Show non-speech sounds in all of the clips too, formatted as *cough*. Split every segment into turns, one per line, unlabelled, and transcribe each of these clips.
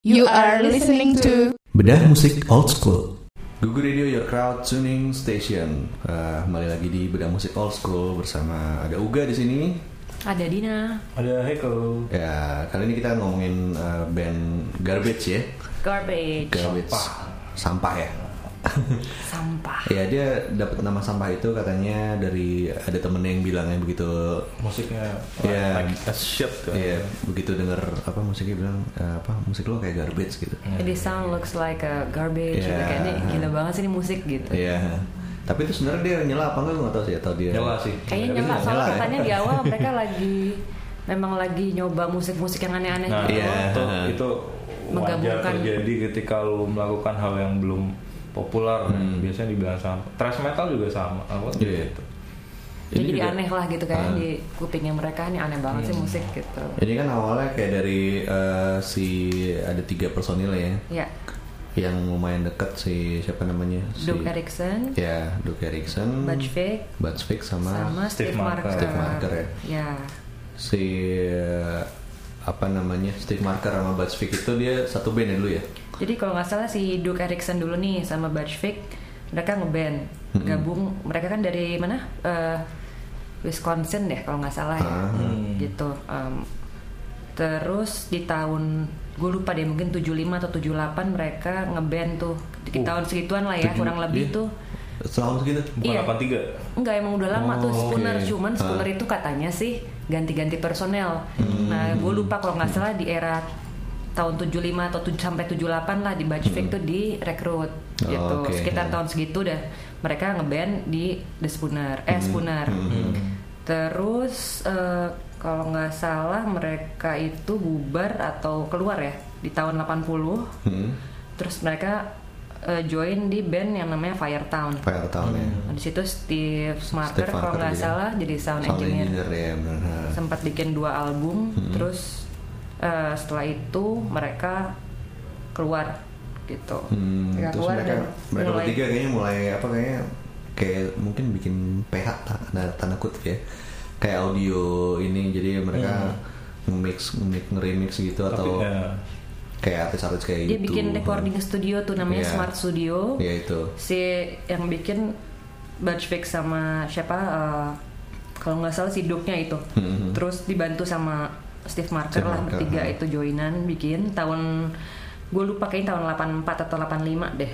You are listening to
Bedah musik old school.
Gugu Radio Your Crowd Tuning Station. Eh, kembali lagi di Bedah Musik Old School bersama ada Uga di sini.
Ada Dina.
Ada Heko.
Ya, kali ini kita ngomongin eh, band Garbage ya.
Garbage.
Garbage. Sampah ya.
Sampah.
Ya dia dapat nama sampah itu katanya dari ada temennya yang bilangnya begitu
Musiknya
Iya.
like a shit kan.
Iya, begitu denger apa musiknya bilang eh, apa musik lo kayak garbage gitu.
Jadi sound looks like a garbage gitu
Yeah.
kayaknya gila banget sih ini musik gitu.
Iya. Tapi itu sebenarnya dia nyela apa enggak gue nggak tahu sih atau dia
Nyela sih. Iya.
Kayaknya
Tapi
nyela
nggak
soalnya
ya.
katanya di
*laughs*
awal mereka lagi memang lagi nyoba musik-musik yang aneh-aneh
Nah,
gitu.
Iya.
itu, itu wajar
Menggabungkan.
terjadi ketika lu melakukan hal yang belum populer. Biasanya dibilang sama. Thrash metal juga sama. Apa
Hmm. Iya.
gitu.
Jadi
Ini juga- Ah. Hmm.
aneh lah gitu kayaknya di kupingnya mereka ini aneh banget sih musik gitu.
Ini kan awalnya kayak dari eh, si ada tiga personil ya,
Ya,
yang lumayan deket si siapa namanya? Si,
Doug Erickson,
Ya, Duke Erickson,
Butch Vig,
Butch Vig sama,
sama Steve,
Steve
Marker.
Marker.
Steve Marker ya.
Ya.
si eh, apa namanya Steve Marker sama Butch Vig itu dia satu band ya dulu ya.
Iya. Jadi kalau nggak salah si Doug Erickson dulu nih sama Butch Vig, mereka ngeband, gabung. Mereka kan dari mana? Eh, Wisconsin deh kalau nggak salah ya,
Ah.
gitu. Em, terus di tahun gue lupa deh mungkin 75 atau 78 mereka ngeband tuh di
Oh.
tahun segituan lah ya
Tujuh-
kurang lebih
iya.
tuh.
Setahun segitu.
Bukan
Iya.
83.
Enggak emang udah lama
Oh,
tuh Spooner
oke.
cuman Spooner itu katanya sih ganti-ganti personel. Nah,
Hmm.
gue lupa kalau nggak salah di era tahun 75 atau tuj- sampai 78 lah di Butch Vig tuh direkrut
Oh,
gitu.
Hmm. oke.
Sekitar
Hmm.
tahun segitu dah mereka ngeband di The Spooner,
Hmm.
eh Spooner. Terus eh, kalau nggak salah mereka itu bubar atau keluar ya di tahun 80.
Hmm,
Terus mereka eh, join di band yang namanya Firetown.
Fire Town ya.
Nah, Di situ Steve Smarter
Steve
kalau
Marker
nggak
juga.
salah jadi sound,
Sound
engineer.
engineer Hmm. ya, benar.
Sempat bikin dua album, terus eh, setelah itu mereka keluar gitu.
Hmm,
Mereka
terus mereka
dan
mereka
mulai-
bertiga kayaknya mulai apa kayaknya kayak mungkin bikin PH tanda tanda kutip ya kayak audio ini jadi
Hmm.
mereka nge-mix nge-mix nge-remix gitu
Tapi,
atau
ya.
kayak artis-artis kayak
dia
gitu
bikin recording studio tuh namanya
Iya.
Smart Studio.
ya itu
Si yang bikin Butch Vig sama siapa? eh, kalau nggak salah si Duke-nya itu.
Mhm.
Terus dibantu sama Steve Marker
Steve
lah
Marker,
bertiga
hmm.
itu joinan bikin tahun gue lupa kayaknya tahun 84 atau 85 deh.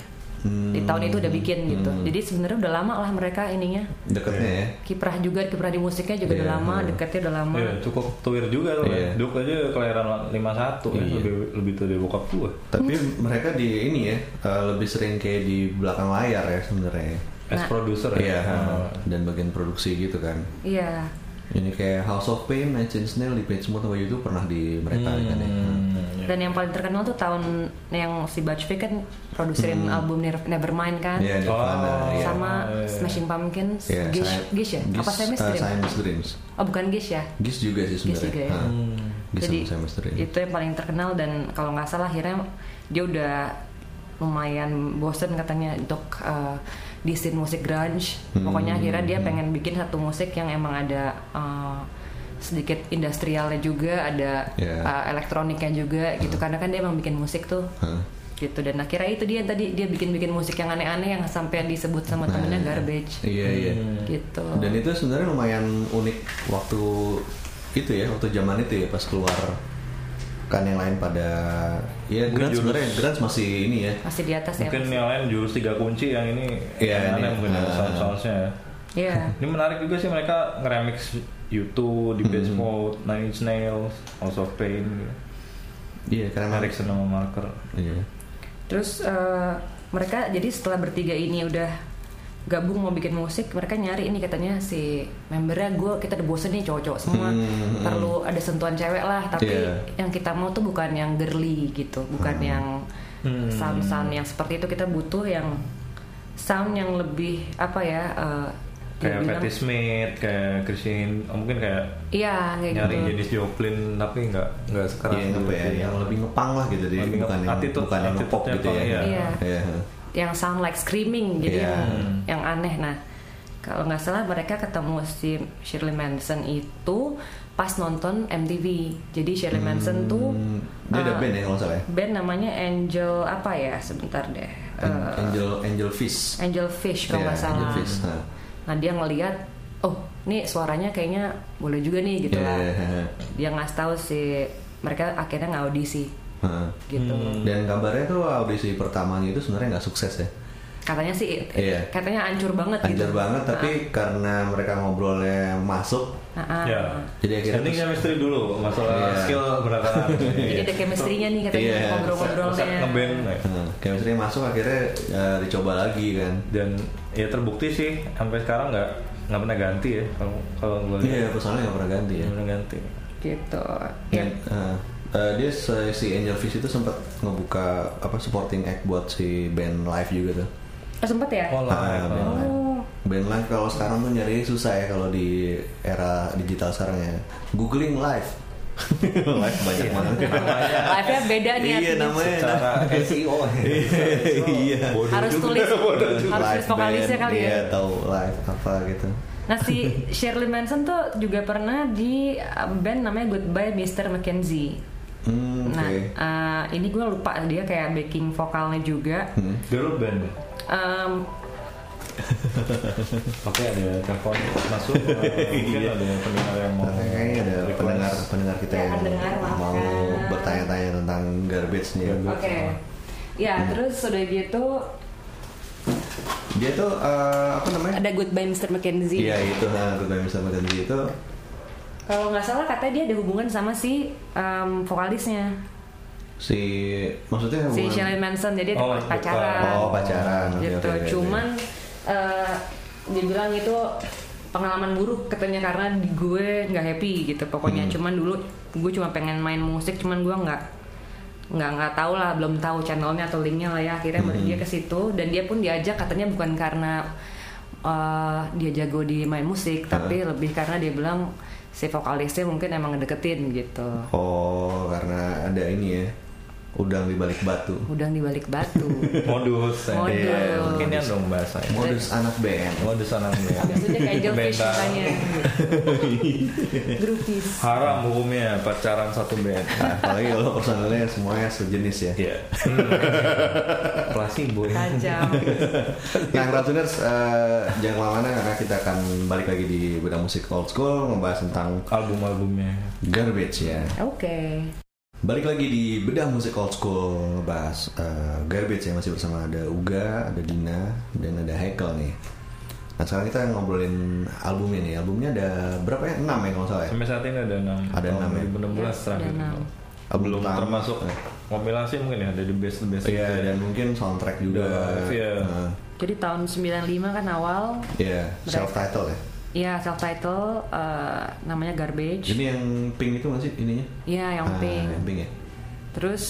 Hmm,
Di tahun itu udah bikin gitu. Jadi sebenarnya udah lama lah mereka ininya.
deketnya ya
Kiprah juga kiprah di musiknya juga udah
Iya,
lama,
hmm.
deketnya udah lama.
Iya, cukup tuir juga tuh.
Iya.
ya. Duk aja kelahiran 51 ya, lebih lebih tua dari bokap gua.
tapi
Hmm.
mereka di ini ya eh, lebih sering kayak di belakang layar ya sebenarnya
As
Nah.
producer
iya
ya.
ha, dan bagian produksi gitu kan
Iya.
ini kayak House of Pain, Nine Inch Nails, di Page Mode sama YouTube pernah di mereka kan
Hmm.
ya.
Iya.
Dan yang paling terkenal tuh tahun yang si Butch Vig kan produserin album Nir- Nevermind
Hmm.
kan.
Iya, Nirvana,
Oh.
iya.
sama Smashing Pumpkins,
Iya,
Gish,
saya-
Gish ya? Apa
Gish,
saya
eh,
Dream?
Siamese Dreams.
oh bukan Gish ya?
Gish juga sih sebenarnya.
juga ya.
Hah. Gish
Jadi
sama Siamese Dream.
itu yang paling terkenal dan kalau nggak salah akhirnya dia udah lumayan bosen katanya untuk eh, di scene musik grunge.
Hmm.
Pokoknya akhirnya dia pengen bikin satu musik yang emang ada eh, sedikit industrialnya juga, ada
Iya. Hmm.
eh, elektroniknya juga gitu. Karena kan dia emang bikin musik tuh.
Hah.
gitu dan akhirnya itu dia tadi dia bikin-bikin musik yang aneh-aneh yang sampai disebut sama
Nah,
temennya garbage
Iya iya.
gitu
Dan itu sebenarnya lumayan unik waktu itu ya, waktu zaman itu ya pas keluar kan yang lain pada ya Grunge sebenarnya Grunge masih ini ya.
masih di atas ya
Mungkin
Mas?
yang lain jurus tiga kunci yang ini
Iya,
yang aneh
ini.
mungkin dari
Ah.
sound-soundnya ya.
Iya.
Ini menarik juga sih mereka ngeremix YouTube di Beach
Hmm.
Mode, Nine Inch Nails, House of Pain, gitu.
Iya karena
menarik sama marker.
Iya.
terus eh, mereka jadi setelah bertiga ini udah gabung mau bikin musik mereka nyari ini katanya si membernya gue kita udah bosen nih cowok-cowok semua
Hmm.
perlu ada sentuhan cewek lah tapi
Iya.
yang kita mau tuh bukan yang girly gitu bukan
Hmm.
yang sound sound yang seperti itu kita butuh yang sound yang lebih apa ya eh, dia
Kayak
bilang-
Patti Smith, kayak Christine, oh, mungkin kayak
Iya kayak
nyari
gitu.
jenis Joplin tapi nggak nggak sekeras
Iya, yang apa ya, yang lebih ngepang lah gitu jadi
Lebih
bukan
nge-
yang
attitude-
bukan yang pop
attitude-nya
gitu ya.
pang, iya.
Iya.
Iya.
Yang sound like screaming jadi
Iya.
yang, yang aneh. Nah kalau nggak salah mereka ketemu si Shirley Manson itu pas nonton MTV. Jadi Shirley Manson tuh
Hmm, dia ada
eh,
band ya kalau nggak salah ya?
Band namanya Angel apa ya? Sebentar deh.
An-
Eh,
Angel Angel Fish.
Angel Fish kalau
Iya,
nggak salah.
Angel Fish. Nah.
Nah dia ngelihat, oh ini suaranya kayaknya boleh juga nih gitu
Iya,
lah.
iya, iya. *laughs*
Dia ngasih tahu si mereka akhirnya nggak audisi
Nah.
gitu.
Dan kabarnya tuh audisi pertamanya itu sebenarnya nggak sukses ya.
Katanya sih,
Iya.
katanya hancur banget
Anjir
gitu.
banget tapi karena mereka ngobrolnya masuk
Ah, ah.
Ya.
Jadi akhirnya
Penting
terus-
chemistry dulu masalah
*laughs* Iya.
skill belakangan.
Jadi ada chemistry-nya nih katanya
Iya.
ngobrol-ngobrolnya.
Ustadz ngeband ya.
nah, chemistry masuk akhirnya eh, dicoba lagi kan.
dan ya terbukti sih sampai sekarang nggak nggak pernah ganti ya kalau kalau gue
Iya, personalnya nggak pernah ganti ya.
nggak pernah ganti.
Gitu. Ya.
Dan, eh, eh, dia se- si Angel Fish itu sempat ngebuka apa supporting act buat si band live juga tuh.
Oh, sempet ya?
Oh, live,
Ah, band
oh.
live. Band live kalau sekarang tuh nyari susah ya kalau di era digital sekarang ya. Googling *laughs* live. live
Iya.
banyak banget.
Live-nya beda nih
Iya
artinya.
namanya.
Secara SEO
*laughs* Iya.
Bodoh
Harus
juga,
tulis.
*laughs* bodoh juga.
Harus tulis vokalisnya kali ya.
Iya, tahu live apa gitu.
Nah
*laughs*
si Shirley Manson tuh juga pernah di uh, band namanya Goodbye Mr. Mackenzie.
Hmm, oke.
Nah uh, ini gue lupa dia kayak backing vokalnya juga.
Hmm.
Dulu band.
Um,
Oke ada telepon masuk.
*laughs*
eh, Mungkin ada pendengar yang mau.
Nah, Kayaknya ada
request.
pendengar pendengar kita
Ya,
yang
pendengar,
mau
maafkan.
bertanya-tanya tentang garbage nih.
Oke. Ya
Hmm.
terus udah gitu
Dia tuh eh, apa namanya?
ada Goodbye Mr. Mackenzie.
Iya itu, nah Goodbye Mr. Mackenzie itu
Kalau nggak salah katanya dia ada hubungan sama si um, vokalisnya
si maksudnya
si
hubungan-
Shirley Manson jadi ada
Oh,
pacaran.
Oh pacaran. oke, oke,
gitu.
oke, oke.
Cuman eh, dibilang itu pengalaman buruk katanya karena di gue nggak happy gitu.
Hmm.
Pokoknya cuman dulu gue cuma pengen main musik, cuman gue nggak nggak nggak tahu lah belum tahu channelnya atau linknya lah ya akhirnya
Hmm.
baru dia ke situ dan dia pun diajak katanya bukan karena eh, dia jago di main musik tapi lebih karena dia bilang si vokalisnya mungkin emang ngedeketin gitu
Oh karena ada ini ya udang di balik batu.
udang di balik batu
*laughs*
Modus. ya.
Modus.
Iya, Mungkin yang dong bahasanya.
Modus anak Oh, band.
Modus ya. anak band.
maksudnya kayak jelfish
Band.
katanya
*laughs*
groupies
Haram hukumnya pacaran satu band.
Nah, apalagi kalau personalnya semuanya sejenis ya.
Iya. Placebo.
tajam
Nah, Ratuners, eh, jangan kemana-mana karena kita akan balik lagi di Bedah Musik Old School membahas tentang
Album-albumnya.
garbage ya.
oke
Balik lagi di Bedah Musik Old School ngebahas eh, garbage ya masih bersama ada Uga, ada Dina, dan ada Hekel nih. Nah sekarang kita ngobrolin albumnya nih. Albumnya ada berapa ya? 6 ya kalau nggak salah ya.
Sampai saat ini ada 6
Ada enam ya?
2016
Iya,
terakhir
ada enam.
Album
Belum
pertama. Eh,
termasuk kompilasi mungkin ya Ada di best the best
Iya dan mungkin soundtrack juga.
Iya.
Nah,
Jadi tahun 95 kan awal
Iya. Self title ya.
ya self title namanya Garbage.
Ini yang pink itu nggak sih ininya?
Ya yang
Ah,
pink.
Yang pink ya.
Terus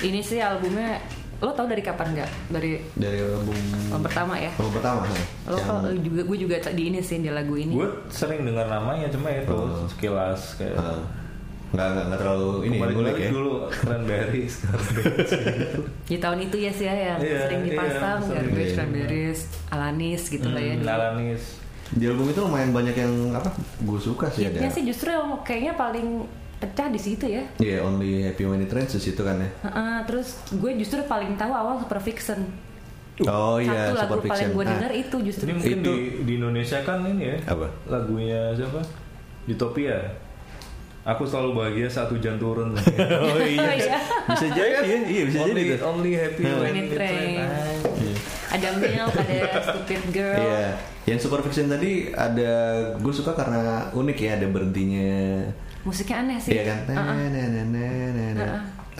ini sih albumnya lo tau dari kapan nggak? Dari
Dari album.
yang pertama ya.
Album pertama. ya?
Lo
Yang-
kalau juga gue juga tak di ini sih di lagu ini.
Gue sering dengar namanya cuma itu sekilas kayak
Ah. nggak nggak nggak terlalu Oh. ini
kembali
ngulik
lagi
ya.
dulu keren berry
*laughs* Oh, iya. Di tahun itu ya sih ya yang
Iya,
sering
iya,
dipasang
sering.
Garbage,
Iya.
Cranberries, Alanis gitu lah
Hmm,
ya. dulu.
Alanis
Di album itu lumayan banyak yang apa? Gue suka sih ada.
Hitnya sih justru yang kayaknya paling pecah di situ ya.
Iya, Only Happy When It Rains di situ kan ya.
Heeh, terus gue justru paling tahu awal Super Fiction.
Oh iya,
Satu lagu
Super
paling
Fiction.
gue
Ah,
denger itu justru.
ini mungkin
Itu-
di, di Indonesia kan ini ya
Apa?
lagunya siapa Utopia Aku selalu bahagia saat hujan *laughs* turun.
Oh iya.
*laughs*
Bisa jadi ya, iya bisa jadi.
only,
tuh.
only happy when it rains.
Iya. ada milk ada stupid girl
Iya. Yang Super Fiction tadi ada gue suka karena unik ya ada berhentinya.
musiknya aneh sih
Iya kan? nah, Nenenenenenen.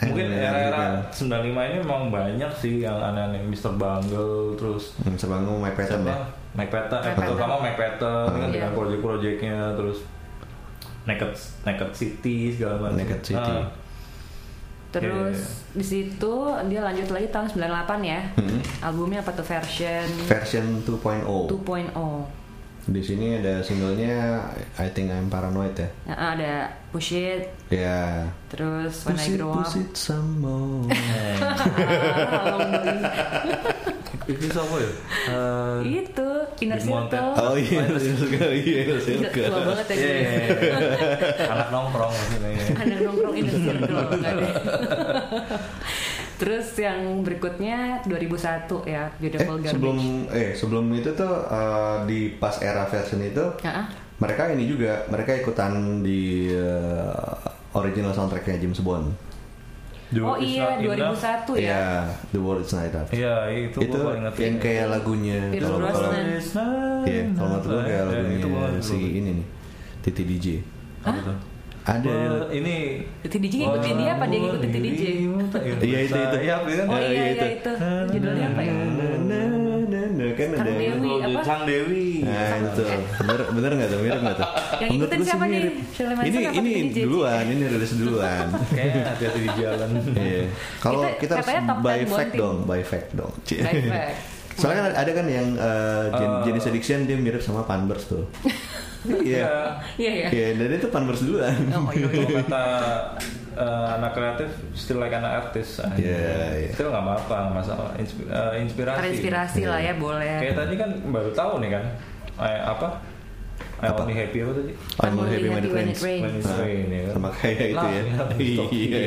Mungkin
Nenenenen
era-era
Nah, gitu.
95 ini memang banyak sih yang aneh-aneh. Mr. Bungle, terus
Hmm, Sebangun My Pattern ya.
Apa? Mike Patton, eh,
Mike
terutama
Patton.
Mike Patton ini kan
Iya.
dengan project-projectnya terus Naked Naked City segala macam.
Naked City.
Ah,
terus
Iya,
di situ dia lanjut lagi tahun 98 ya
Hmm.
albumnya apa tuh version oh.
Version 2.0.
2.0
Di sini ada singlenya I Think I'm Paranoid ya.
Nah, ada push it
Ya.
terus when I grow up *laughs*
some more.
itu siapa ya? Eh,
itu inner
Big Mountain.
circle
Oh iya, Inner Circle, iya, Inner
Gila,
Circle.
tua banget ya
iya,
gue.
iya, iya. *laughs* anak nongkrong mungkin ya.
anak nongkrong inner circle nggak ada. *laughs* Terus yang berikutnya 2001 ya
Eh,
Beautiful Garbage.
sebelum eh sebelum itu tuh eh, di pas era fashion itu
Ah, ah.
mereka ini juga mereka ikutan di eh, original soundtracknya James Bond.
*laughs*
The
Oh
World Is
iya
Not
2001
Enough.
ya.
Iya, The World Is Not Enough.
Iya itu,
itu
gue paling ngerti.
yang kayak lagunya
Pierce
kalau kalau
Brosnan.
iya kalau nggak tahu kayak lagunya si ini Kan nih Titi DJ. Ada
ini
Titi DJ ngikutin dia apa dia ngikutin Titi DJ?
Iya, itu, itu.
Iya itu kan?
Oh
Eh,
iya
iya,
iya
itu. Iya,
itu. Judulnya apa ya?
na na na na kan
Kang
ada
Dewi. apa?
Sang Dewi.
Nah itu bener bener nggak tuh mirip nggak tuh?
Yang
Menurut
ikutin
gua sih
siapa nih?
mirip.
Shirley Manson
Ini
apa
ini
Titi DJ?
duluan ini rilis duluan.
Kayaknya hati-hati di jalan.
*laughs* Iya. Kalau
Itu
kita harus
katanya top
by fact
10 bonding.
dong, by fact dong. Cie.
By fact.
*laughs* Soalnya kan ada kan yang eh, Jen-
Eh.
jenis addiction dia mirip sama Panbers tuh. Iya.
Iya ya.
Iya, dan itu Panbers duluan.
Oh iya.
Kalau kata eh, anak kreatif still like anak artis aja.
Iya, iya.
still nggak apa-apa nggak masalah Inspi- eh, inspirasi
Terinspirasi lah ya boleh.
kayak tadi kan baru tahu nih kan eh, apa I only happy apa tadi
I'm not happy when it rains.
rains.
When it's
Nah,
rain, ya kan?
Sama kayak itu
Lah,
ya.
lah, stop.
Iya.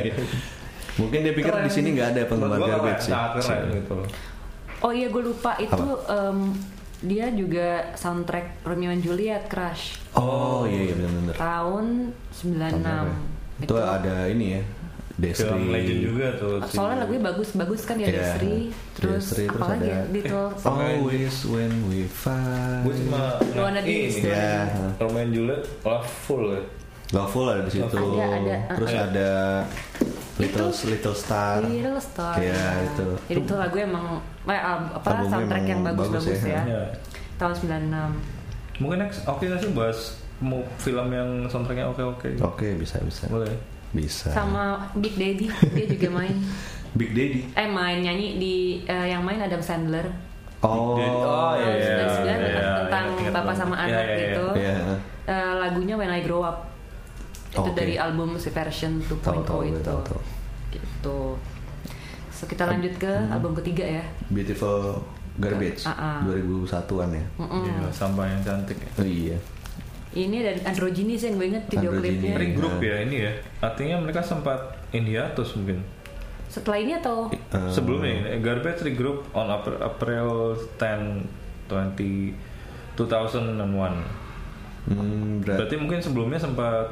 Mungkin dia pikir
Keren.
di sini nggak ada penggemar
Menurut gua keren,
garbage sih.
sangat keren gitu loh.
Oh iya gue lupa itu em, dia juga soundtrack Romeo and Juliet Crush
Oh iya iya benar-benar.
tahun 96.
ya. Itu ada ini ya. Destri.
film legend juga tuh si-
Soalnya lagunya bagus-bagus kan ya
Iya.
Desri, terus
Destri, terus
apalagi
ada- Oh,
ya, Little
Always when we fight.
Gua cuma
Iya,
You wanna
ini,
dance,
ya.
Ya,
Romeo and Juliet love full ya
Loveful ada di situ.
Ada, ada.
Terus
Ada.
ada Little
Itu-
Little Star.
Little Star.
Iya, itu.
Jadi itu lagu emang eh, apa
Albumnya
soundtrack yang
emang
bagus-bagus
bagus ya. Iya.
ya.
Iya.
Tahun 96.
mungkin next oke nggak sih bahas mu- film yang soundtracknya oke oke
Oke, bisa bisa.
boleh
Bisa.
sama Big Daddy dia juga main
Big Daddy.
eh main nyanyi di eh, yang main Adam Sandler
Oh,
Jadi- oh, iya, iya,
Tahun 99,
iya,
tentang
ingat, ingat
bapak
banget.
sama
Iya,
anak
iya, iya.
gitu
Iya.
Eh, lagunya When I Grow Up itu
Oke.
dari album si version 2.0
Tahu, tahu,
itu
tahu, tahu.
gitu so kita lanjut ke
Mm-hmm.
album ketiga ya
Beautiful Garbage
Ah, ah.
2001-an ya.
Mm-mm.
Iya, sampah yang cantik ya.
Oh iya.
ini dari Androgini sih yang gue inget video
Androgynous.
klipnya
Ini
Iya.
grup ya ini ya. Artinya mereka sempat in hiatus mungkin.
setelah ini atau
Eh,
Sebelumnya Garbage regroup on April, April 10 20 2001.
hmm, berat-
Berarti mungkin sebelumnya sempat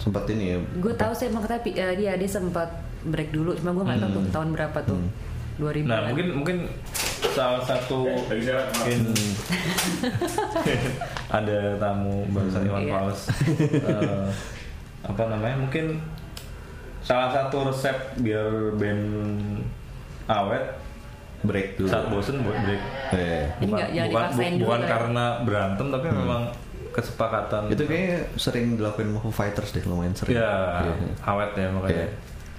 sempat ini ya.
gue tahu sih emang tapi eh, dia dia sempat break dulu cuma gue nggak tahu
Hmm.
tuh tahun berapa tuh 2000
Nah, mungkin mungkin salah satu mungkin *laughs* ada tamu barusan Iwan
Iya.
Fals. Eh, apa namanya? Mungkin salah satu resep biar band awet
Break dulu.
saat bosen buat break.
Eh.
Ini nggak- jangan
bukan,
dipaksain
bu-
dulu
bukan
lah ya. Hmm.
karena berantem tapi memang kesepakatan
Itu kayaknya sering dilakuin sama Foo Fighters deh, lumayan sering.
ya
Iya.
awet ya makanya
Iya.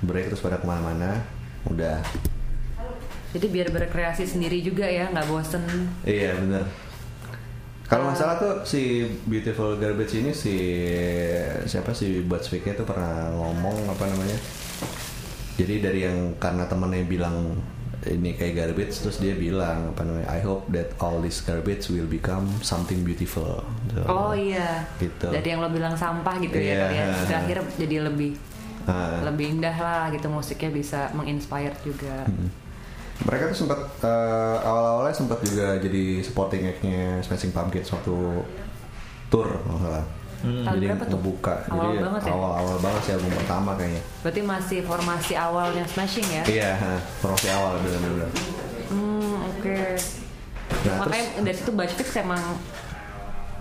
Break terus pada kemana-mana, udah.
Jadi biar berkreasi sendiri juga ya, nggak bosen.
Iya benar. Kalau nggak salah tuh si Beautiful Garbage ini si siapa si buat speaknya tuh pernah ngomong apa namanya? Jadi dari yang karena temennya bilang ini kayak garbage terus dia bilang apa namanya? I hope that all this garbage will become something beautiful. So,
Oh iya.
Gitu.
Dari yang lo bilang sampah gitu
Iya.
ya, kali ya. Terakhir jadi lebih
Ah.
lebih indah lah gitu musiknya bisa menginspire juga.
Hmm. Mereka tuh sempat eh, awal-awalnya sempat juga jadi supporting act-nya Smashing Pumpkins waktu tour kalau nggak salah.
Tahun
Jadi
berapa tuh?
ngebuka.
Awal
jadi
banget ya?
awal-awal banget sih album pertama kayaknya.
Berarti masih formasi awalnya Smashing ya?
Iya, ha, promosi awal benar-benar.
Hmm oke.
Nah,
Makanya
terus
dari situ Batch Fix emang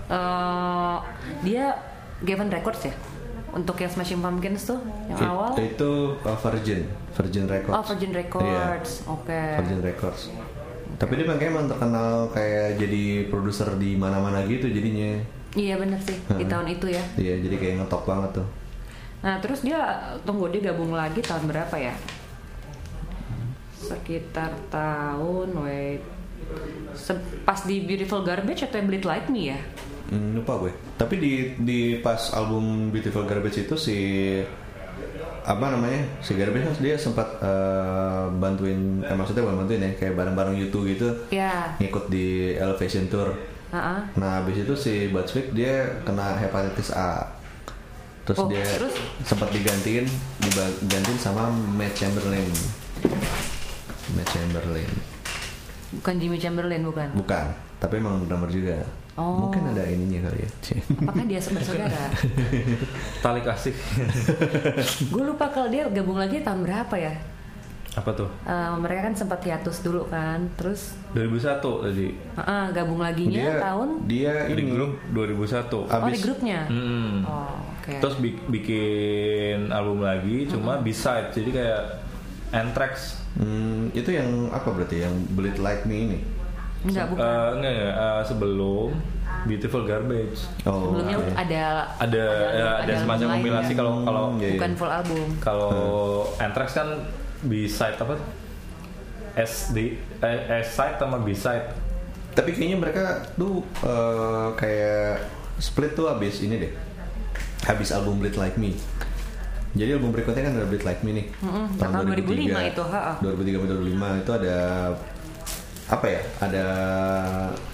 eh, dia Given Records ya untuk yang Smashing Pumpkins tuh yang
it-
awal.
itu uh, Virgin, Virgin Records.
Oh Virgin
Iya,
Records, oke.
Virgin Records. Tapi dia makanya emang terkenal kayak jadi produser di mana-mana gitu jadinya.
Iya bener sih di tahun itu ya.
Iya, jadi kayak ngetop banget tuh.
Nah terus dia tunggu dia gabung lagi tahun berapa ya? Sekitar tahun wait se- pas di Beautiful Garbage atau yang Bleed Like Me ya?
Hmm, lupa gue. Tapi di di pas album Beautiful Garbage itu si apa namanya si Garbage kan dia sempat eh, bantuin eh, maksudnya bukan bantuin ya kayak bareng-bareng YouTube gitu
Ya.
ngikut di Elevation Tour.
Heeh.
Nah habis itu si Buzzfeed dia kena hepatitis A. Terus
Oh,
dia
terus?
sempat digantiin digantiin sama Matt Chamberlain. Matt Chamberlain
Bukan Jimmy Chamberlain bukan.
bukan, tapi emang drummer juga.
Oh.
Mungkin ada ininya kali ya.
*laughs* Apakah dia bersaudara?
*laughs*
Tali kasih. *laughs*
Gue lupa kalau dia gabung lagi tahun berapa ya?
Apa tuh?
Eh, mereka kan sempat hiatus dulu kan, terus
2001 tadi.
heeh, gabung laginya
dia
tahun
dia
Di
ini
grup 2001.
oh
abis-
di grupnya.
Mm-mm.
Oh, oke.
Hmm.
Hmm.
Terus bi- bikin album lagi cuma beside jadi kayak Anthrax.
Hmm, itu yang apa berarti yang Bleed Like Me ini?
Enggak
Eh,
bukan.
enggak, enggak, eh, sebelum Beautiful Garbage.
Oh,
Sebelumnya
oke.
ada
Ada ya, ada,
album
semacam
lain
kompilasi
ya.
kalau kalau
Hmm, iya.
bukan full album.
kalau Anthrax kan beside apa? SD eh, S side sama beside.
tapi kayaknya mereka tuh eh, kayak split tuh habis ini deh. Habis album Bleed Like Me. Jadi album berikutnya kan ada Bleed Like Me nih.
Mm-mm, tahun 2005 itu, ha-ha.
2003 sampai 2005 itu ada apa ya? Ada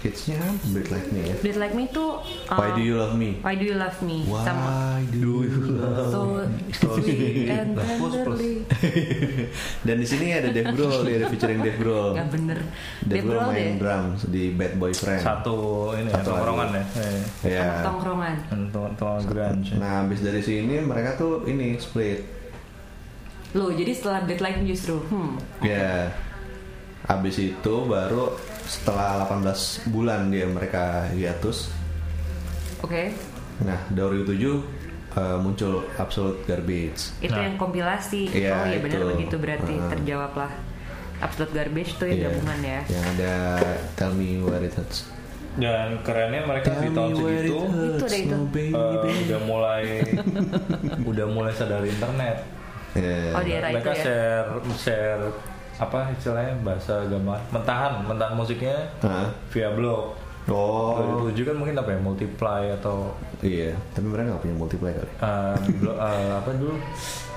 hitsnya apa Bleed Like Me ya.
Bleed Like Me itu uh,
Why do you love me?
Why do you love me? Sama
Why do you love me?
So sweet and
Plus, plus.
tenderly.
Dan di sini ada Dave Grohl, dia ada featuring Dave Grohl.
Gak bener. ya?
Dave Grohl main
deh.
drum di Bad Boy Friend.
Satu ini
Eh. Satu
satu tongkrongan ya. Eh,
Ya.
Tongkrongan.
Tongkrongan grunge.
Nah, habis dari sini mereka tuh ini split.
Loh, jadi setelah Bleed Like Me justru. Hmm.
Ya. Habis itu baru setelah 18 bulan dia mereka hiatus.
Oke.
Nah, 2007 eh, muncul Absolute Garbage.
Itu
Nah.
yang kompilasi.
Iya,
oh iya benar
itu.
begitu berarti
Ah.
terjawablah. Absolute Garbage itu yang
Iya.
gabungan ya.
Yang ada Tell Me Where It Hurts.
Dan kerennya mereka di tahun segitu
Itu
oh,
deh itu.
eh, udah mulai udah mulai sadar internet.
Ya.
Oh di era itu
mereka
ya.
share share apa istilahnya bahasa gambar mentahan mentahan musiknya
Hah?
via blog.
Oh,
2007 kan mungkin apa ya multiply atau
iya. Tapi mereka nggak punya multiplayer kali.
eh, blog- eh, apa dulu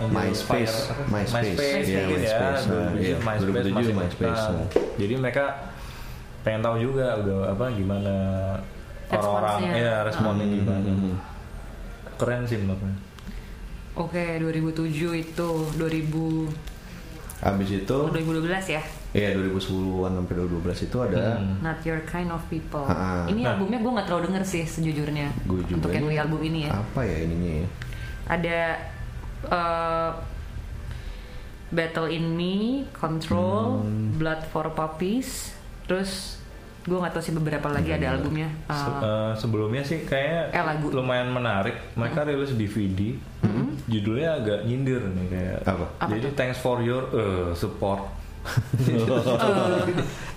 Yang dulu
MySpace.
Fire, apa?
MySpace.
MySpace,
Iya,
mungkin ya
MySpace. Nah,
2007
iya.
MySpace
2007
masih
eh.
MySpace,
mentahan.
nah.
jadi mereka pengen tahu juga udah apa gimana orang-orang
Responsnya.
ya responnya
Hmm.
gimana keren sih menurutnya
Oke, 2007 itu 2000
Habis itu
2012 ya.
Iya 2010-an sampai 2012 itu ada
Not your kind of people.
Ah, ah.
Ini
Nah.
albumnya gue nggak terlalu denger sih sejujurnya.
Gua juga
Untuk yang
nih.
album ini ya.
apa ya ininya ya?
ada eh, Battle in Me, Control,
Hmm.
Blood for Puppies, terus gue nggak tahu sih beberapa lagi ada albumnya. Eh,
Se- eh, sebelumnya sih kayak
Eh, lagu. Hmm.
lumayan menarik. Mereka rilis DVD, judulnya agak nyindir nih kayak.
Hmm. Apa?
Apa
Jadi thanks for your eh,
*laughs*
support.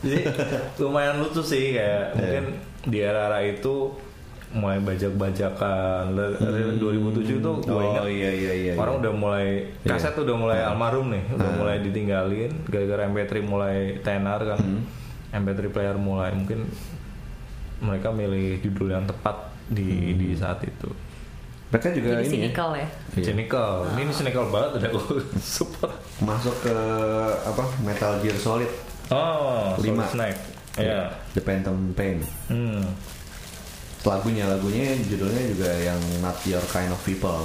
Jadi lumayan lucu sih
Iya.
kayak mungkin di era-era itu mulai bajak-bajakan. Le- 2007 itu gue ingat
Hmm. Oh iya iya iya.
orang
iya.
udah mulai kaset udah mulai almarhum nih udah mulai ditinggalin gara-gara MP3 mulai tenar kan
Hmm.
MP3 player mulai mungkin mereka milih judul yang tepat
Hmm.
di di saat itu
mereka juga ini
jadi
ya,
cynical ya.
Iya.
cynical ini cynical banget udah gue *laughs* super
masuk ke apa Metal Gear Solid
oh Solid
Lima. Iya.
Snake ya
The Phantom Pain.
hmm.
Lagunya lagunya judulnya juga yang Not Your Kind of People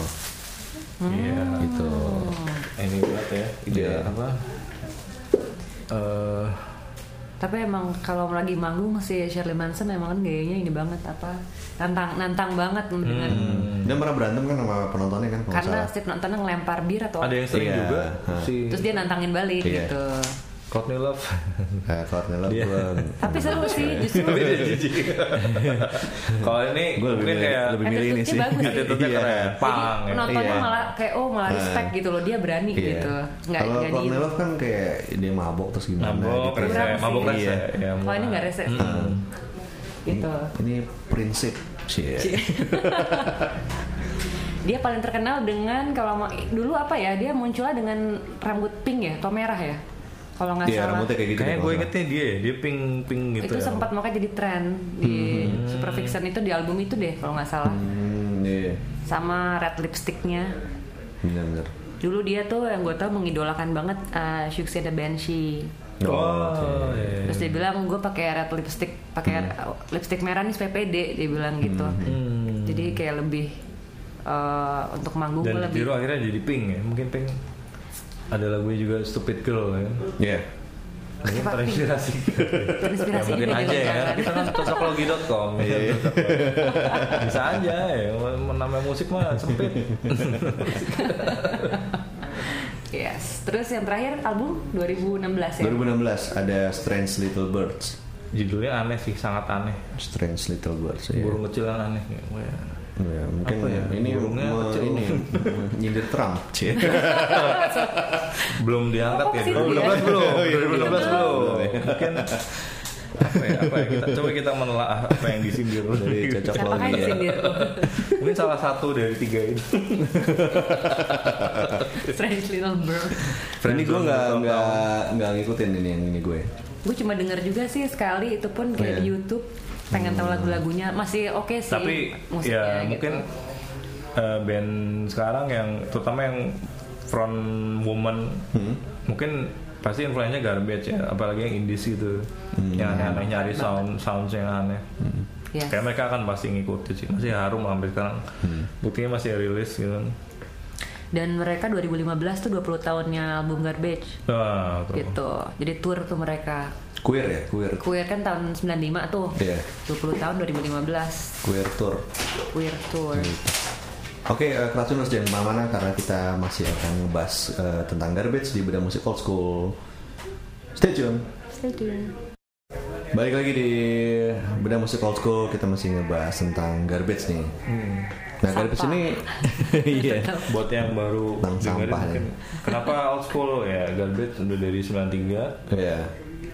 Iya.
gitu.
ini banget ya ide
Iya.
apa Eh,
Tapi emang kalau lagi manggung si Shirley Manson emang kan gayanya ini banget apa nantang nantang banget dengan
Dia pernah berantem kan sama penontonnya kan kalau nggak
Hmm. karena
salah.
setiap nontonnya ngelempar bir atau
ada yang sering
Iya.
juga
Hah.
si
terus dia nantangin balik
Iya.
gitu.
Courtney *laughs* Love
Eh, Cornel
*laughs*
Iya.
Love
Tapi seru
Iya.
sih justru
Tapi dia jijik. Kalau ini
Gue lebih
mungkin
milih-
kayak
lebih milih ini
attitude-nya
sih.
bagus sih.
Attitude-nya
Iya.
keren. Pang,
Jadi
ya.
penontonnya
Iya.
malah kayak oh malah respect gitu loh dia berani
Iya.
gitu. Nggak
Kalau
nggak diem.
Cornelov kan kayak dia mabok terus gimana
mabok
gitu.
rese,
Kurang sih.
mabok rese.
Iya.
Ya,
Wah, ini nggak rese sih.
Mm-mm.
gitu.
Ini prinsip sih.
Dia paling terkenal dengan kalau mau dulu apa ya dia munculnya dengan rambut pink ya atau merah ya kalau nggak
Iya,
salah.
rambutnya kayak gitu.
Kayaknya
deh,
gue
kalau
ingetnya dia, ya, dia pink pink gitu.
itu
ya. Hmm.
sempat makanya jadi tren di Super Fiction itu di album itu deh kalau nggak salah
Hmm, iya,
sama red lipsticknya
benar-benar.
Dulu dia tuh yang gue tau mengidolakan banget uh, Siouxsie and the Banshee.
Oh,
Oh,
oke.
iya.
Terus dia bilang gue pakai red lipstick, pakai lipstick merah nih PPD dia bilang gitu.
Hmm.
Jadi kayak lebih eh, untuk manggung
dan
gue lebih
ditiru akhirnya jadi pink ya mungkin pink ada lagunya juga stupid girl ya
Iya.
mungkin terinspirasi ya
terinspirasi
mungkin
gitu
aja ya
jangan-jangan.
kita kan cocoklogi.com
Iya,
ya, cocoklogi. bisa aja ya namanya musik mah sempit
Yes. Terus yang terakhir album 2016 ya.
Iya.
2016 ada Strange Little Birds.
judulnya aneh sih sangat aneh
Strange Little Birds. Iya.
burung kecil yang aneh ya.
Ya, mungkin
Apa ya?
ini
Burungnya
me-
kecil.
ini nyindir Trump. Cie.
belum diangkat
Oh,
ya
kesitu
2016 belum
Oh, iya,
2016 belum
belum ya.
mungkin apa ya, apa ya kita coba kita menelaah apa yang disindir
Dari cocok
Siapa kan
logi.
disindir?
mungkin salah satu dari tiga ini
*laughs* Strange Little Bird.
Ini gue nggak nggak nggak ngikutin ini yang ini gue.
Gue cuma denger juga sih sekali itu pun
Iya.
kayak di YouTube pengen tahu lagu-lagunya masih oke sih
Hmm. tapi
Iya, musiknya
ya
gitu.
mungkin eh, band sekarang yang terutama yang front woman
Hmm.
mungkin pasti influennya garbage ya apalagi yang indie itu
Hmm.
yang
Iya,
aneh nyari sound sound yang aneh
Yes.
kayak mereka akan pasti ngikutin sih masih harum sampai sekarang
Hmm.
buktinya masih rilis gitu
dan mereka 2015 tuh 20 tahunnya album Garbage
nah, tuh.
gitu jadi tour tuh mereka
Queer ya, queer.
Queer kan tahun 95 tuh
Iya.
20 tahun 2015
Queer tour.
Queer tour
Oke, eh, Kratuners jangan kemana-mana karena kita masih akan ngebahas eh, tentang garbage di beda musik old school. Stay tune.
Stay tuned.
Balik lagi di beda musik old school kita masih ngebahas tentang garbage nih.
Hmm.
Nah, garbage
Sampah.
ini *laughs* iya.
buat yang baru
Tentang
dengerin
sampah ya.
mungkin kenapa old school ya garbage udah dari 93
Iya.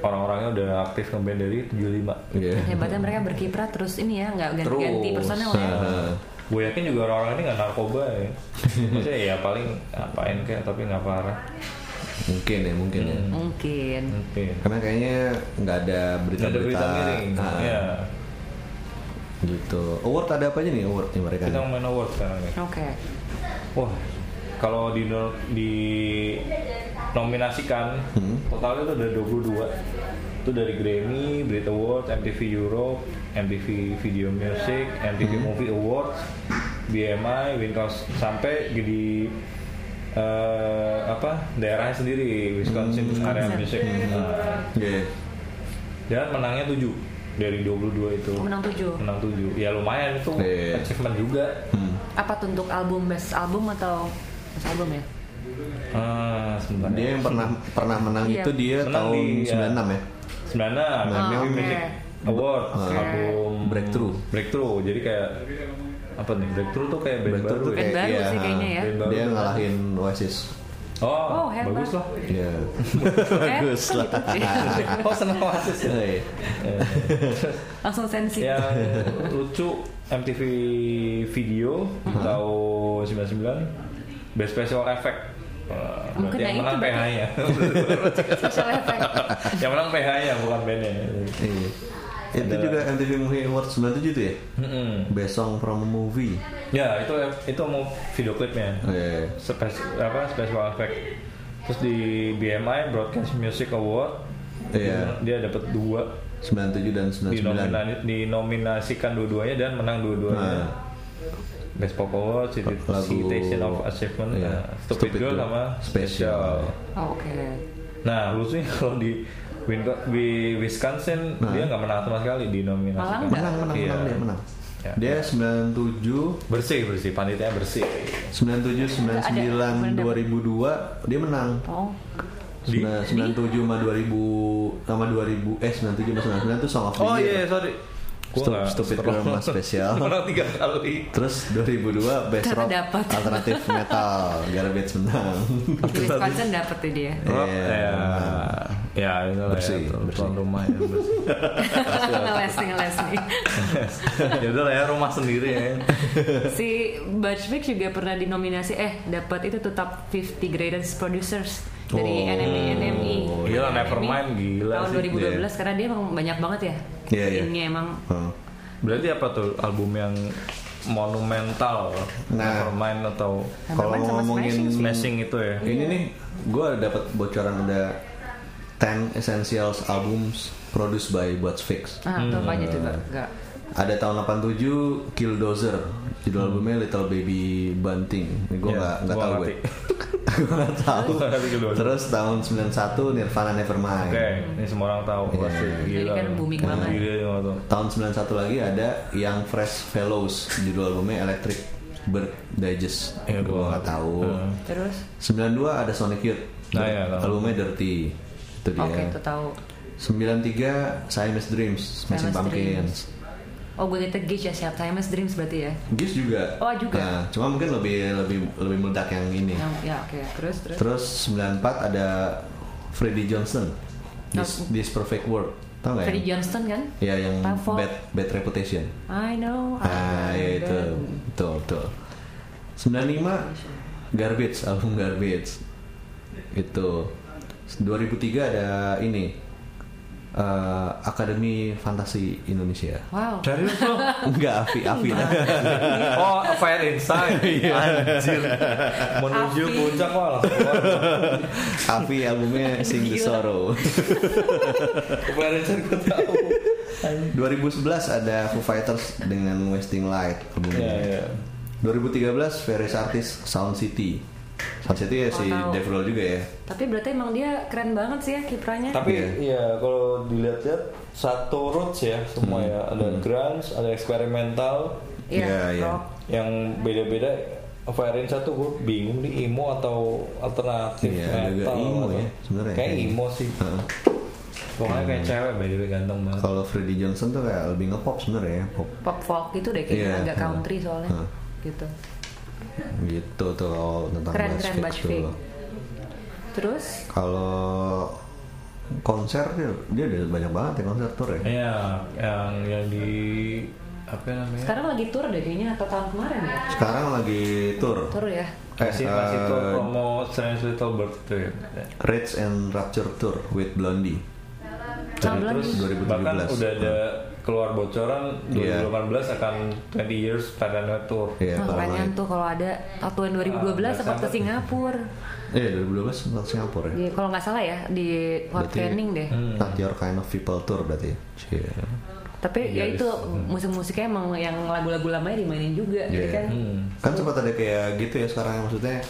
orang-orangnya udah aktif ngeband dari 75
Iya.
Hebatnya mereka berkiprah terus ini ya nggak ganti-ganti
Terus. Hmm.
personel ya.
Nah,
gue yakin juga orang-orang ini nggak narkoba ya maksudnya ya paling apain kayak tapi nggak parah
mungkin ya, mungkin ya.
Hmm.
Mungkin.
oke
Karena kayaknya nggak ada
Nggak ada
berita-berita
berita miring
Kan Ah,
ya
gitu. Award ada apa aja nih award nih mereka?
kita main award sekarang nih
Oke.
wah kalau di di nominasikan
Hmm.
totalnya tuh ada 22 itu dari Grammy, Brit Awards, MTV Europe, MTV Video Music, MTV
Hmm.
Movie Awards, BMI, Wincos sampai jadi eh, apa daerahnya sendiri Wisconsin
Hmm.
area music Nah,
Iya.
dan menangnya 7 dari 22 itu
Menang 7.
menang 7 ya lumayan itu
Iya. Hmm.
achievement juga
Apa tuh untuk album best album atau best album
*laughs*
ya?
ah sebentar
Dia yang pernah pernah menang
Iya.
itu dia
Menang
tahun
di, ya.
96 ya.
96 Grammy
Ah, oke.
iya. Music Award
Oke.
album
Breakthrough.
Breakthrough jadi kayak apa nih Breakthrough tuh kayak band
Breakthrough tuh
baru ya
Band
Kayak,
baru
iya,
sih kayaknya ya.
Band
Dia
baru.
ngalahin Oasis.
oh,
Oh, hebat.
bagus
*laughs*
lah
*laughs*
Iya.
Eh, Bagus lah.
oh seneng Oasis ya
Iya.
Langsung sensi.
yang Ya, lucu MTV Video tahun 99 Best Special Effect Eh,
Mungkin
berarti yang
nah
menang
itu berarti.
PH nya
Special effect.
ya? *laughs* yang menang PH nya ya, bukan bandnya
Iya. Itu
Ada-
juga MTV Movie Award 97 tuh ya.
Mm-mm.
Best Song from a Movie.
ya itu itu mau video klipnya
Iya.
Spes, apa special effect terus di BMI Broadcast Music Award
Iya.
dia dapat dua
97 dan 99.
dinomina- dinominasikan dua-duanya dan menang dua-duanya
Nah.
Best Pop Award, Citi-
Lagu-
Citation of Achievement,
Iya.
nah, Stupid,
Stupid
Girl
Girl.
sama
Special.
Special.
Oh, Oke.
Nah, lucunya *laughs* kalau di Winco- di Wisconsin dia nggak menang sama sekali di nominasi.
Malah
Nah.
nggak?
Menang, menang, menang dia menang.
Iya.
Dia 97
Bersih, bersih. Panitia bersih.
97 99
Ada-
2002 dia menang.
Oh.
Di-
Sembilan- 97 sama 2000 sama 2000 eh 97 sama 99 itu Song of the
Oh
Year.
iya, sorry. Gua
Stup-
nggak
Stupid
scroll.
Girl sama
*laughs*
Special.
Menang tiga kali.
Terus 2002 Best
Karena
Rock
dapat.
Alternatif Metal Garbage
*laughs*
menang.
Wisconsin dapet tuh dia.
Rock,
Iya,
ya, ya, itu lah
Bersih,
ya, tuan-
bersih.
tuan rumah ya,
*laughs*
bersih. Iya,
*laughs* ngeles nih, ngeles nih.
ya udah lah ya rumah sendiri ya.
Si Batchwick juga pernah dinominasi eh dapat itu tuh top 50 greatest producers dari E,
Oh.
NME NME.
Gila, Nevermind, gila
E Tahun
sih.
2012 karena dia emang banyak banget ya.
Iya, iya.
Ini emang
Hmm.
Berarti apa tuh album yang monumental
Nah.
Nevermind atau
Kalau
sama
ngomongin
Smashing itu ya
Ini nih, gue dapat bocoran ada 10 Essentials Albums Produced by What's Fix.
Ah, tuh
Hmm.
apa aja tuh, Mbak? Enggak.
Ada tahun 87 Killdozer, judul albumnya Little Baby Bunting. Gue
Hmm. Ya,
nggak nggak
gua
tahu gue. *laughs*
ngerti.
Gue nggak tahu.
Gua ngerti Killdozer.
Terus tahun 91 Nirvana Nevermind.
Oke, ini semua orang tahu pasti
Jadi
gila.
kan booming banget.
Gila yang waktu.
Tahun 91 lagi ada Young Fresh Fellows, judul albumnya Electric Bird Digest.
Ya,
gue
gua-
nggak tahu.
Heeh.
Terus
92 ada Sonic Youth.
Nah, iya, tahu.
albumnya Dirty. Itu dia.
oke, tuh tahu.
93 Siamese Dreams, Smashing
Siamese
Pumpkins.
Dreams. Oh, gue kita gauge ya siap Siamese Dreams berarti ya.
Giz juga.
Oh, juga.
Nah, cuma mungkin lebih lebih lebih meledak yang ini.
Yang ya oke, terus terus.
Terus 94 ada Freddie Johnson. This,
Oh.
This Perfect World. Tahu nggak?
Freddie
yang-
Johnston kan?
Ya yang
Tahu.
bad bad reputation.
I know.
Ah,
iya,
ya itu. Betul, betul. 95 Garbage, album Garbage. Itu. 2003 ada ini. eh, Akademi Fantasi
*laughs*
Indonesia.
Wow.
Serius lo?
Enggak, Afi, Afi.
Oh, Fire Inside. Anjir. Menuju
Api.
puncak wah langsung keluar.
Afi albumnya Sing the
Gila.
*laughs*
Sorrow.
Fire Inside gue kan tahu.
2011 ada Foo Fighters dengan Wasting Light albumnya.
Iya, iya.
2013 Ferris Artis Sound City. Sound City ya si
tahu.
Dave Grohl juga ya.
Tapi berarti emang dia keren banget sih ya kiprahnya.
Tapi
Iya.
iya kalau dilihat-lihat satu roots ya semua ya. Ada grunge, ada eksperimental
Iya,
Iya, iya.
rock.
yang beda-beda Fire Inside tuh gue bingung di emo atau alternatif
Iya, ada juga
metal
emo
atau-
ya, sebenarnya.
Kayak emo sih.
Heeh.
Pokoknya kayak cewek beda ganteng banget.
Kalau Freddie Johnson tuh kayak lebih ngepop sebenarnya ya, pop
Pop folk gitu deh kayaknya
Iya,
agak
iya.
country soalnya.
Heeh.
Gitu.
gitu tuh kalau tentang
Keren,
Butch
keren,
Vig
Butch
tuh.
Vig. Terus
Kalau konser dia, dia ada banyak banget ya konser tour ya.
Iya, yang yang di apa namanya?
sekarang lagi tour deh kayaknya atau tahun kemarin ya?
Sekarang lagi tour.
Tour ya.
Eh,
Masih masih
eh,
tuh promo Strange Little Bird tuh ya.
Rage and Rapture Tour with Blondie.
Tahun bulan
Terus
2017.
bahkan udah ada keluar bocoran
Nah. Iya.
2018 akan 20 years Paranoid Tour.
Iya,
Wah,
kalau
pengen
nggak-
tuh kalau ada tahun 2012
Ah,
sempat ke
sangat.
Singapura.
Eh, 2012 tentang Singapura ya.
Di, kalau nggak salah ya di Hot
Berarti-
Training deh.
Not your kind of people tour berarti. Iya. Cie.
Tapi ya
Yes.
itu musik-musiknya emang yang lagu-lagu lamanya dimainin juga, jadi
Iya.
kan
Kan sempat ada kayak gitu ya sekarang maksudnya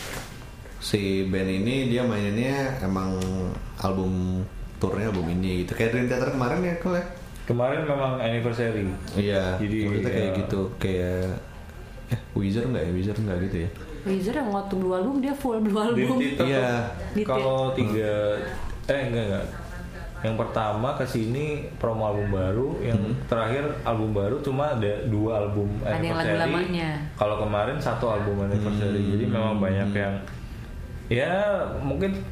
si band ini dia maininnya emang album turnya album ini gitu kayak Dream Theater kemarin ya kok ya.
Kemarin memang anniversary.
Iya. Jadi
Jadi,
maksudnya kayak
iya.
gitu kayak eh Wizard nggak ya Wizard nggak gitu ya.
Wizard yang waktu dua album dia full dua
Di
album.
Tito
Iya.
tuh,
Di
Kalau tiga eh enggak enggak. Yang pertama ke sini promo album baru, yang
Hmm.
terakhir album baru cuma ada dua album
Ada yang lagu
anniversary.
lamanya.
Kalau kemarin satu album anniversary.
Hmm.
Jadi memang banyak yang ya mungkin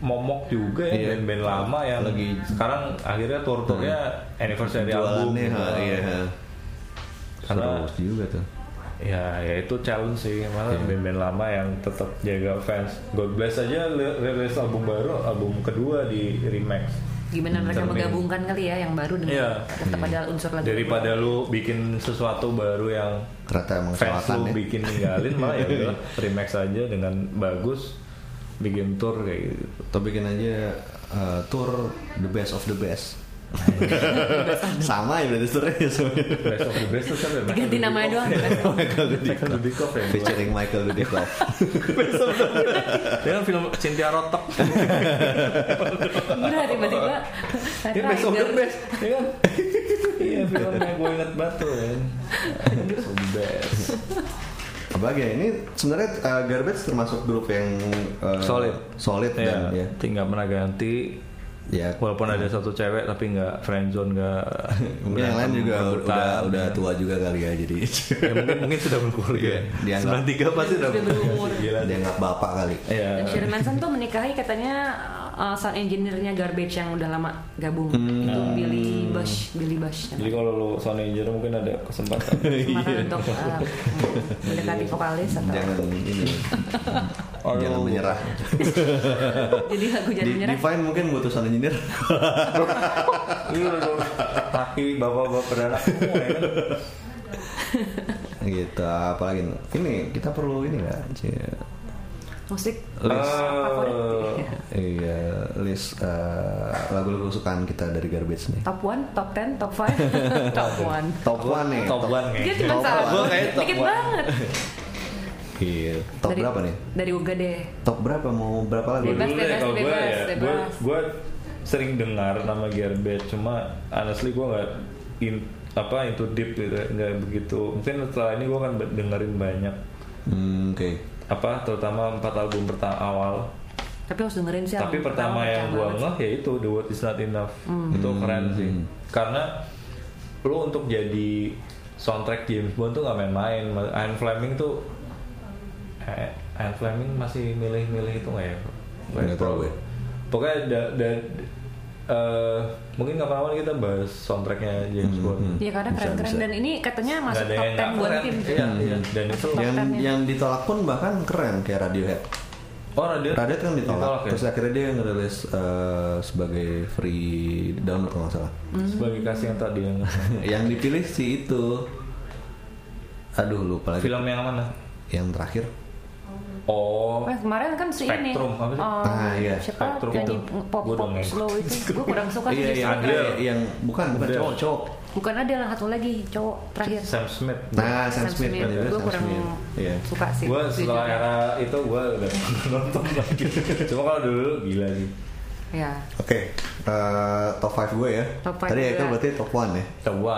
momok juga ya
Iya.
band-band lama yang
Lagi-
sekarang akhirnya tour-tournya anniversary album.
Jualannya
gitu.
ha, iya. ha.
Karena-
Seru juga tuh.
Ya, ya itu challenge sih. Malah
Iya.
band-band lama yang tetap jaga fans. God Bless aja li- rilis album baru, album kedua di remix.
Gimana mereka
Cermin.
menggabungkan kali ya yang baru dengan
Iya.
tetap ada unsur lagu.
Daripada lu bikin sesuatu baru yang
Ternyata emang
fans
selatan
lu
ya.
bikin ninggalin malah ya
*laughs*
udah remix aja dengan bagus bikin tour kayak gitu.
Atau bikin aja uh, tour the best of the
*laughs*
best. Sama ya berarti tournya sebenarnya.
Best of the best tuh siapa ya?
Diganti namanya
*laughs*
doang. kan?
Michael
Michael
Dudikoff.
Dudikoff ya.
Featuring Michael Dudikoff.
Dia kan film Cynthia Rotok.
Enggak tiba-tiba.
Dia best of the best, ya kan? *laughs* Iya, filmnya gue inget banget tuh ya. Best of the best.
Apalagi ya, ini sebenarnya uh, Garbage termasuk grup yang uh,
solid
solid dan ya.
ya tinggal pernah ganti
Ya,
walaupun ada satu cewek tapi nggak friendzone nggak
mungkin yang lain juga
berantem, rebutan.
udah udah tua juga kali ya jadi
ya, mungkin mungkin sudah berkeluarga
Iya, Dianggap.
sembilan tiga pasti udah
Iya.
Sudah berumur.
gila dia
dianggap bapak kali.
ya
Dan Shirley Manson tuh menikahi katanya uh, sound engineer-nya Garbage yang udah lama gabung. Itu Billy Bush, Billy Bush. Nah,
jadi kalau lu sound engineer mungkin ada
*laughs*
kesempatan
Iya.
Kesempatan untuk uh, mendekati vokalis atau
Jangan ini. jangan
Aduh.
menyerah.
jadi lagu
Di,
jadi menyerah.
Divine mungkin butuh sound
*laughs*
engineer.
Iya, laki bapak-bapak beranak semua ya kan.
gitu apalagi ini kita perlu ini nggak Cie?
musik
List.
Eh.
favorit
iya list eh, lagu-lagu kesukaan kita dari garbage nih
*laughs* top 1 top 10 top
*laughs*
5 top
top
1
one nih
Top one
dia
kayaknya.
cuma
Top
satu
one. Gua
kayaknya top
dikit
one.
banget
Iya. top
Dari-
berapa nih
dari Uga deh
top berapa mau berapa lagu
Gue
Bebas,
dulu deh,
bebas,
kalau gue
bebas,
ya, gue
bebas.
gue sering dengar nama Gearbest cuma honestly gue nggak in apa into deep gitu ya, nggak begitu mungkin setelah ini gue akan be- dengerin banyak
hmm, oke
apa terutama empat album pertama awal
tapi harus dengerin sih
tapi
album
pertama Hmm. yang
pecah
gue
banget.
ngeh ya itu the word is not enough itu keren sih
Hmm.
karena lu untuk jadi soundtrack James Bond tuh nggak main-main Ian Fleming tuh eh, Ian Fleming masih milih-milih itu nggak ya
Nggak ya. tahu gue.
pokoknya ada da- eh, mungkin kapan-kapan kita bahas soundtracknya James
Hmm,
Bond
Iya karena
Bisa,
keren-keren
bisa.
dan ini katanya masuk
Nggak ada
top
yang
10
nggak
buat
keren.
tim.
Iya, iya. dan itu
Top
Hmm, yang
ten-nya.
yang ditolak pun bahkan keren kayak Radiohead
oh Radiohead
Radiohead kan ditolak,
ya?
terus akhirnya dia ngerilis eh, sebagai free download kalau nggak salah
sebagai kasih yang tadi
*laughs*
yang
yang dipilih si itu aduh lupa lagi
film yang mana
yang terakhir
oh
Eh, kemarin kan si ini.
Spectrum, apa sih?
eh,
Ah, iya,
Siapa
Spectrum
nyanyi
itu.
pop
Gua
pop
dong yang-
slow itu? Gue kurang suka sih.
iya
dia
yang
suka.
Adele.
yang bukan bukan
Adele.
cowok cowok
Bukan ada lah satu lagi cowok terakhir.
Sam Smith
nah Sam Smith, kan itu
Gue
Sam
kurang
Smith. Iya.
suka sih.
gue setelah
jujur.
era itu gue udah *laughs* nonton lagi cuma kalau dulu gila sih
Iya.
oke eh, top 5 gue ya
Top five
tadi ya
gue.
berarti top 1 ya
coba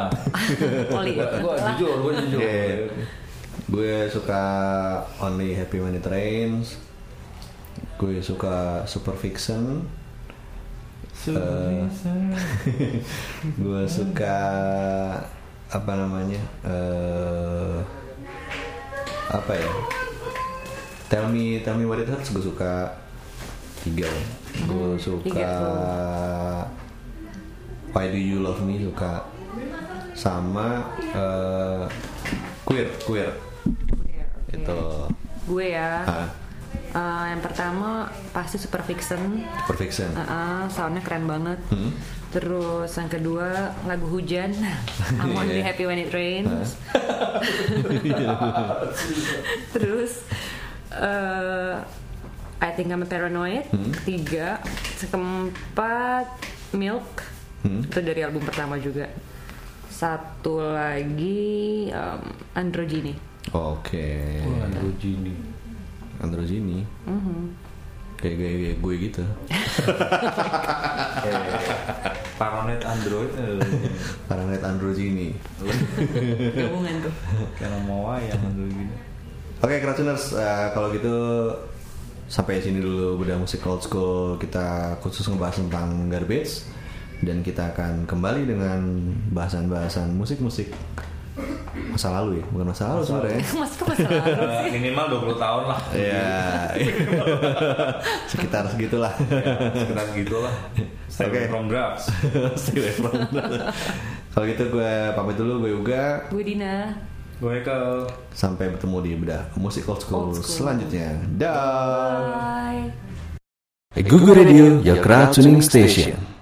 Oli.
gue jujur gue jujur
Oke. gue suka Only Happy Money Trains gue suka Super Fiction *laughs* gue suka apa namanya eh apa ya tell me tell me what it hurts gue suka tiga ya. gue suka
Hmm, tiga tuh.
why do you love me suka sama eh, queer queer itu
Gue ya.
Ah.
eh, yang pertama pasti Super Fiction.
perfection
Heeh, soundnya keren banget. Terus yang kedua lagu hujan, I'm only
Iya.
happy when it rains. *laughs* Terus eh, I think I'm a paranoid. Ketiga, keempat Milk itu dari album pertama juga. Satu lagi em, Androgyny.
Oh, oke
Androgini
androgini
Mhm.
kayak gaya gaya gue gitu
Paranet Android eh,
paranoid androgini
Gabungan tuh.
karena mau wayang Androgini
Oke, Keracuners, eh, kalau gitu sampai sini dulu beda musik old school kita khusus ngebahas tentang garbage dan kita akan kembali dengan bahasan-bahasan musik-musik masa lalu ya, bukan masa lalu sebenarnya.
Masuk ke masa lalu.
Eh, minimal 20 tahun lah
Ya, sekitar segitulah. *laughs*
sekarang gitulah stay
Oke.
away from drugs
Stay away from that. Kalau gitu gue pamit dulu, gue Uga.
Gue Dina.
gue ke
Sampai bertemu di bedah musik old school,
Old school.
selanjutnya. Dah.
Bye.
Google Radio, your crowd tuning station.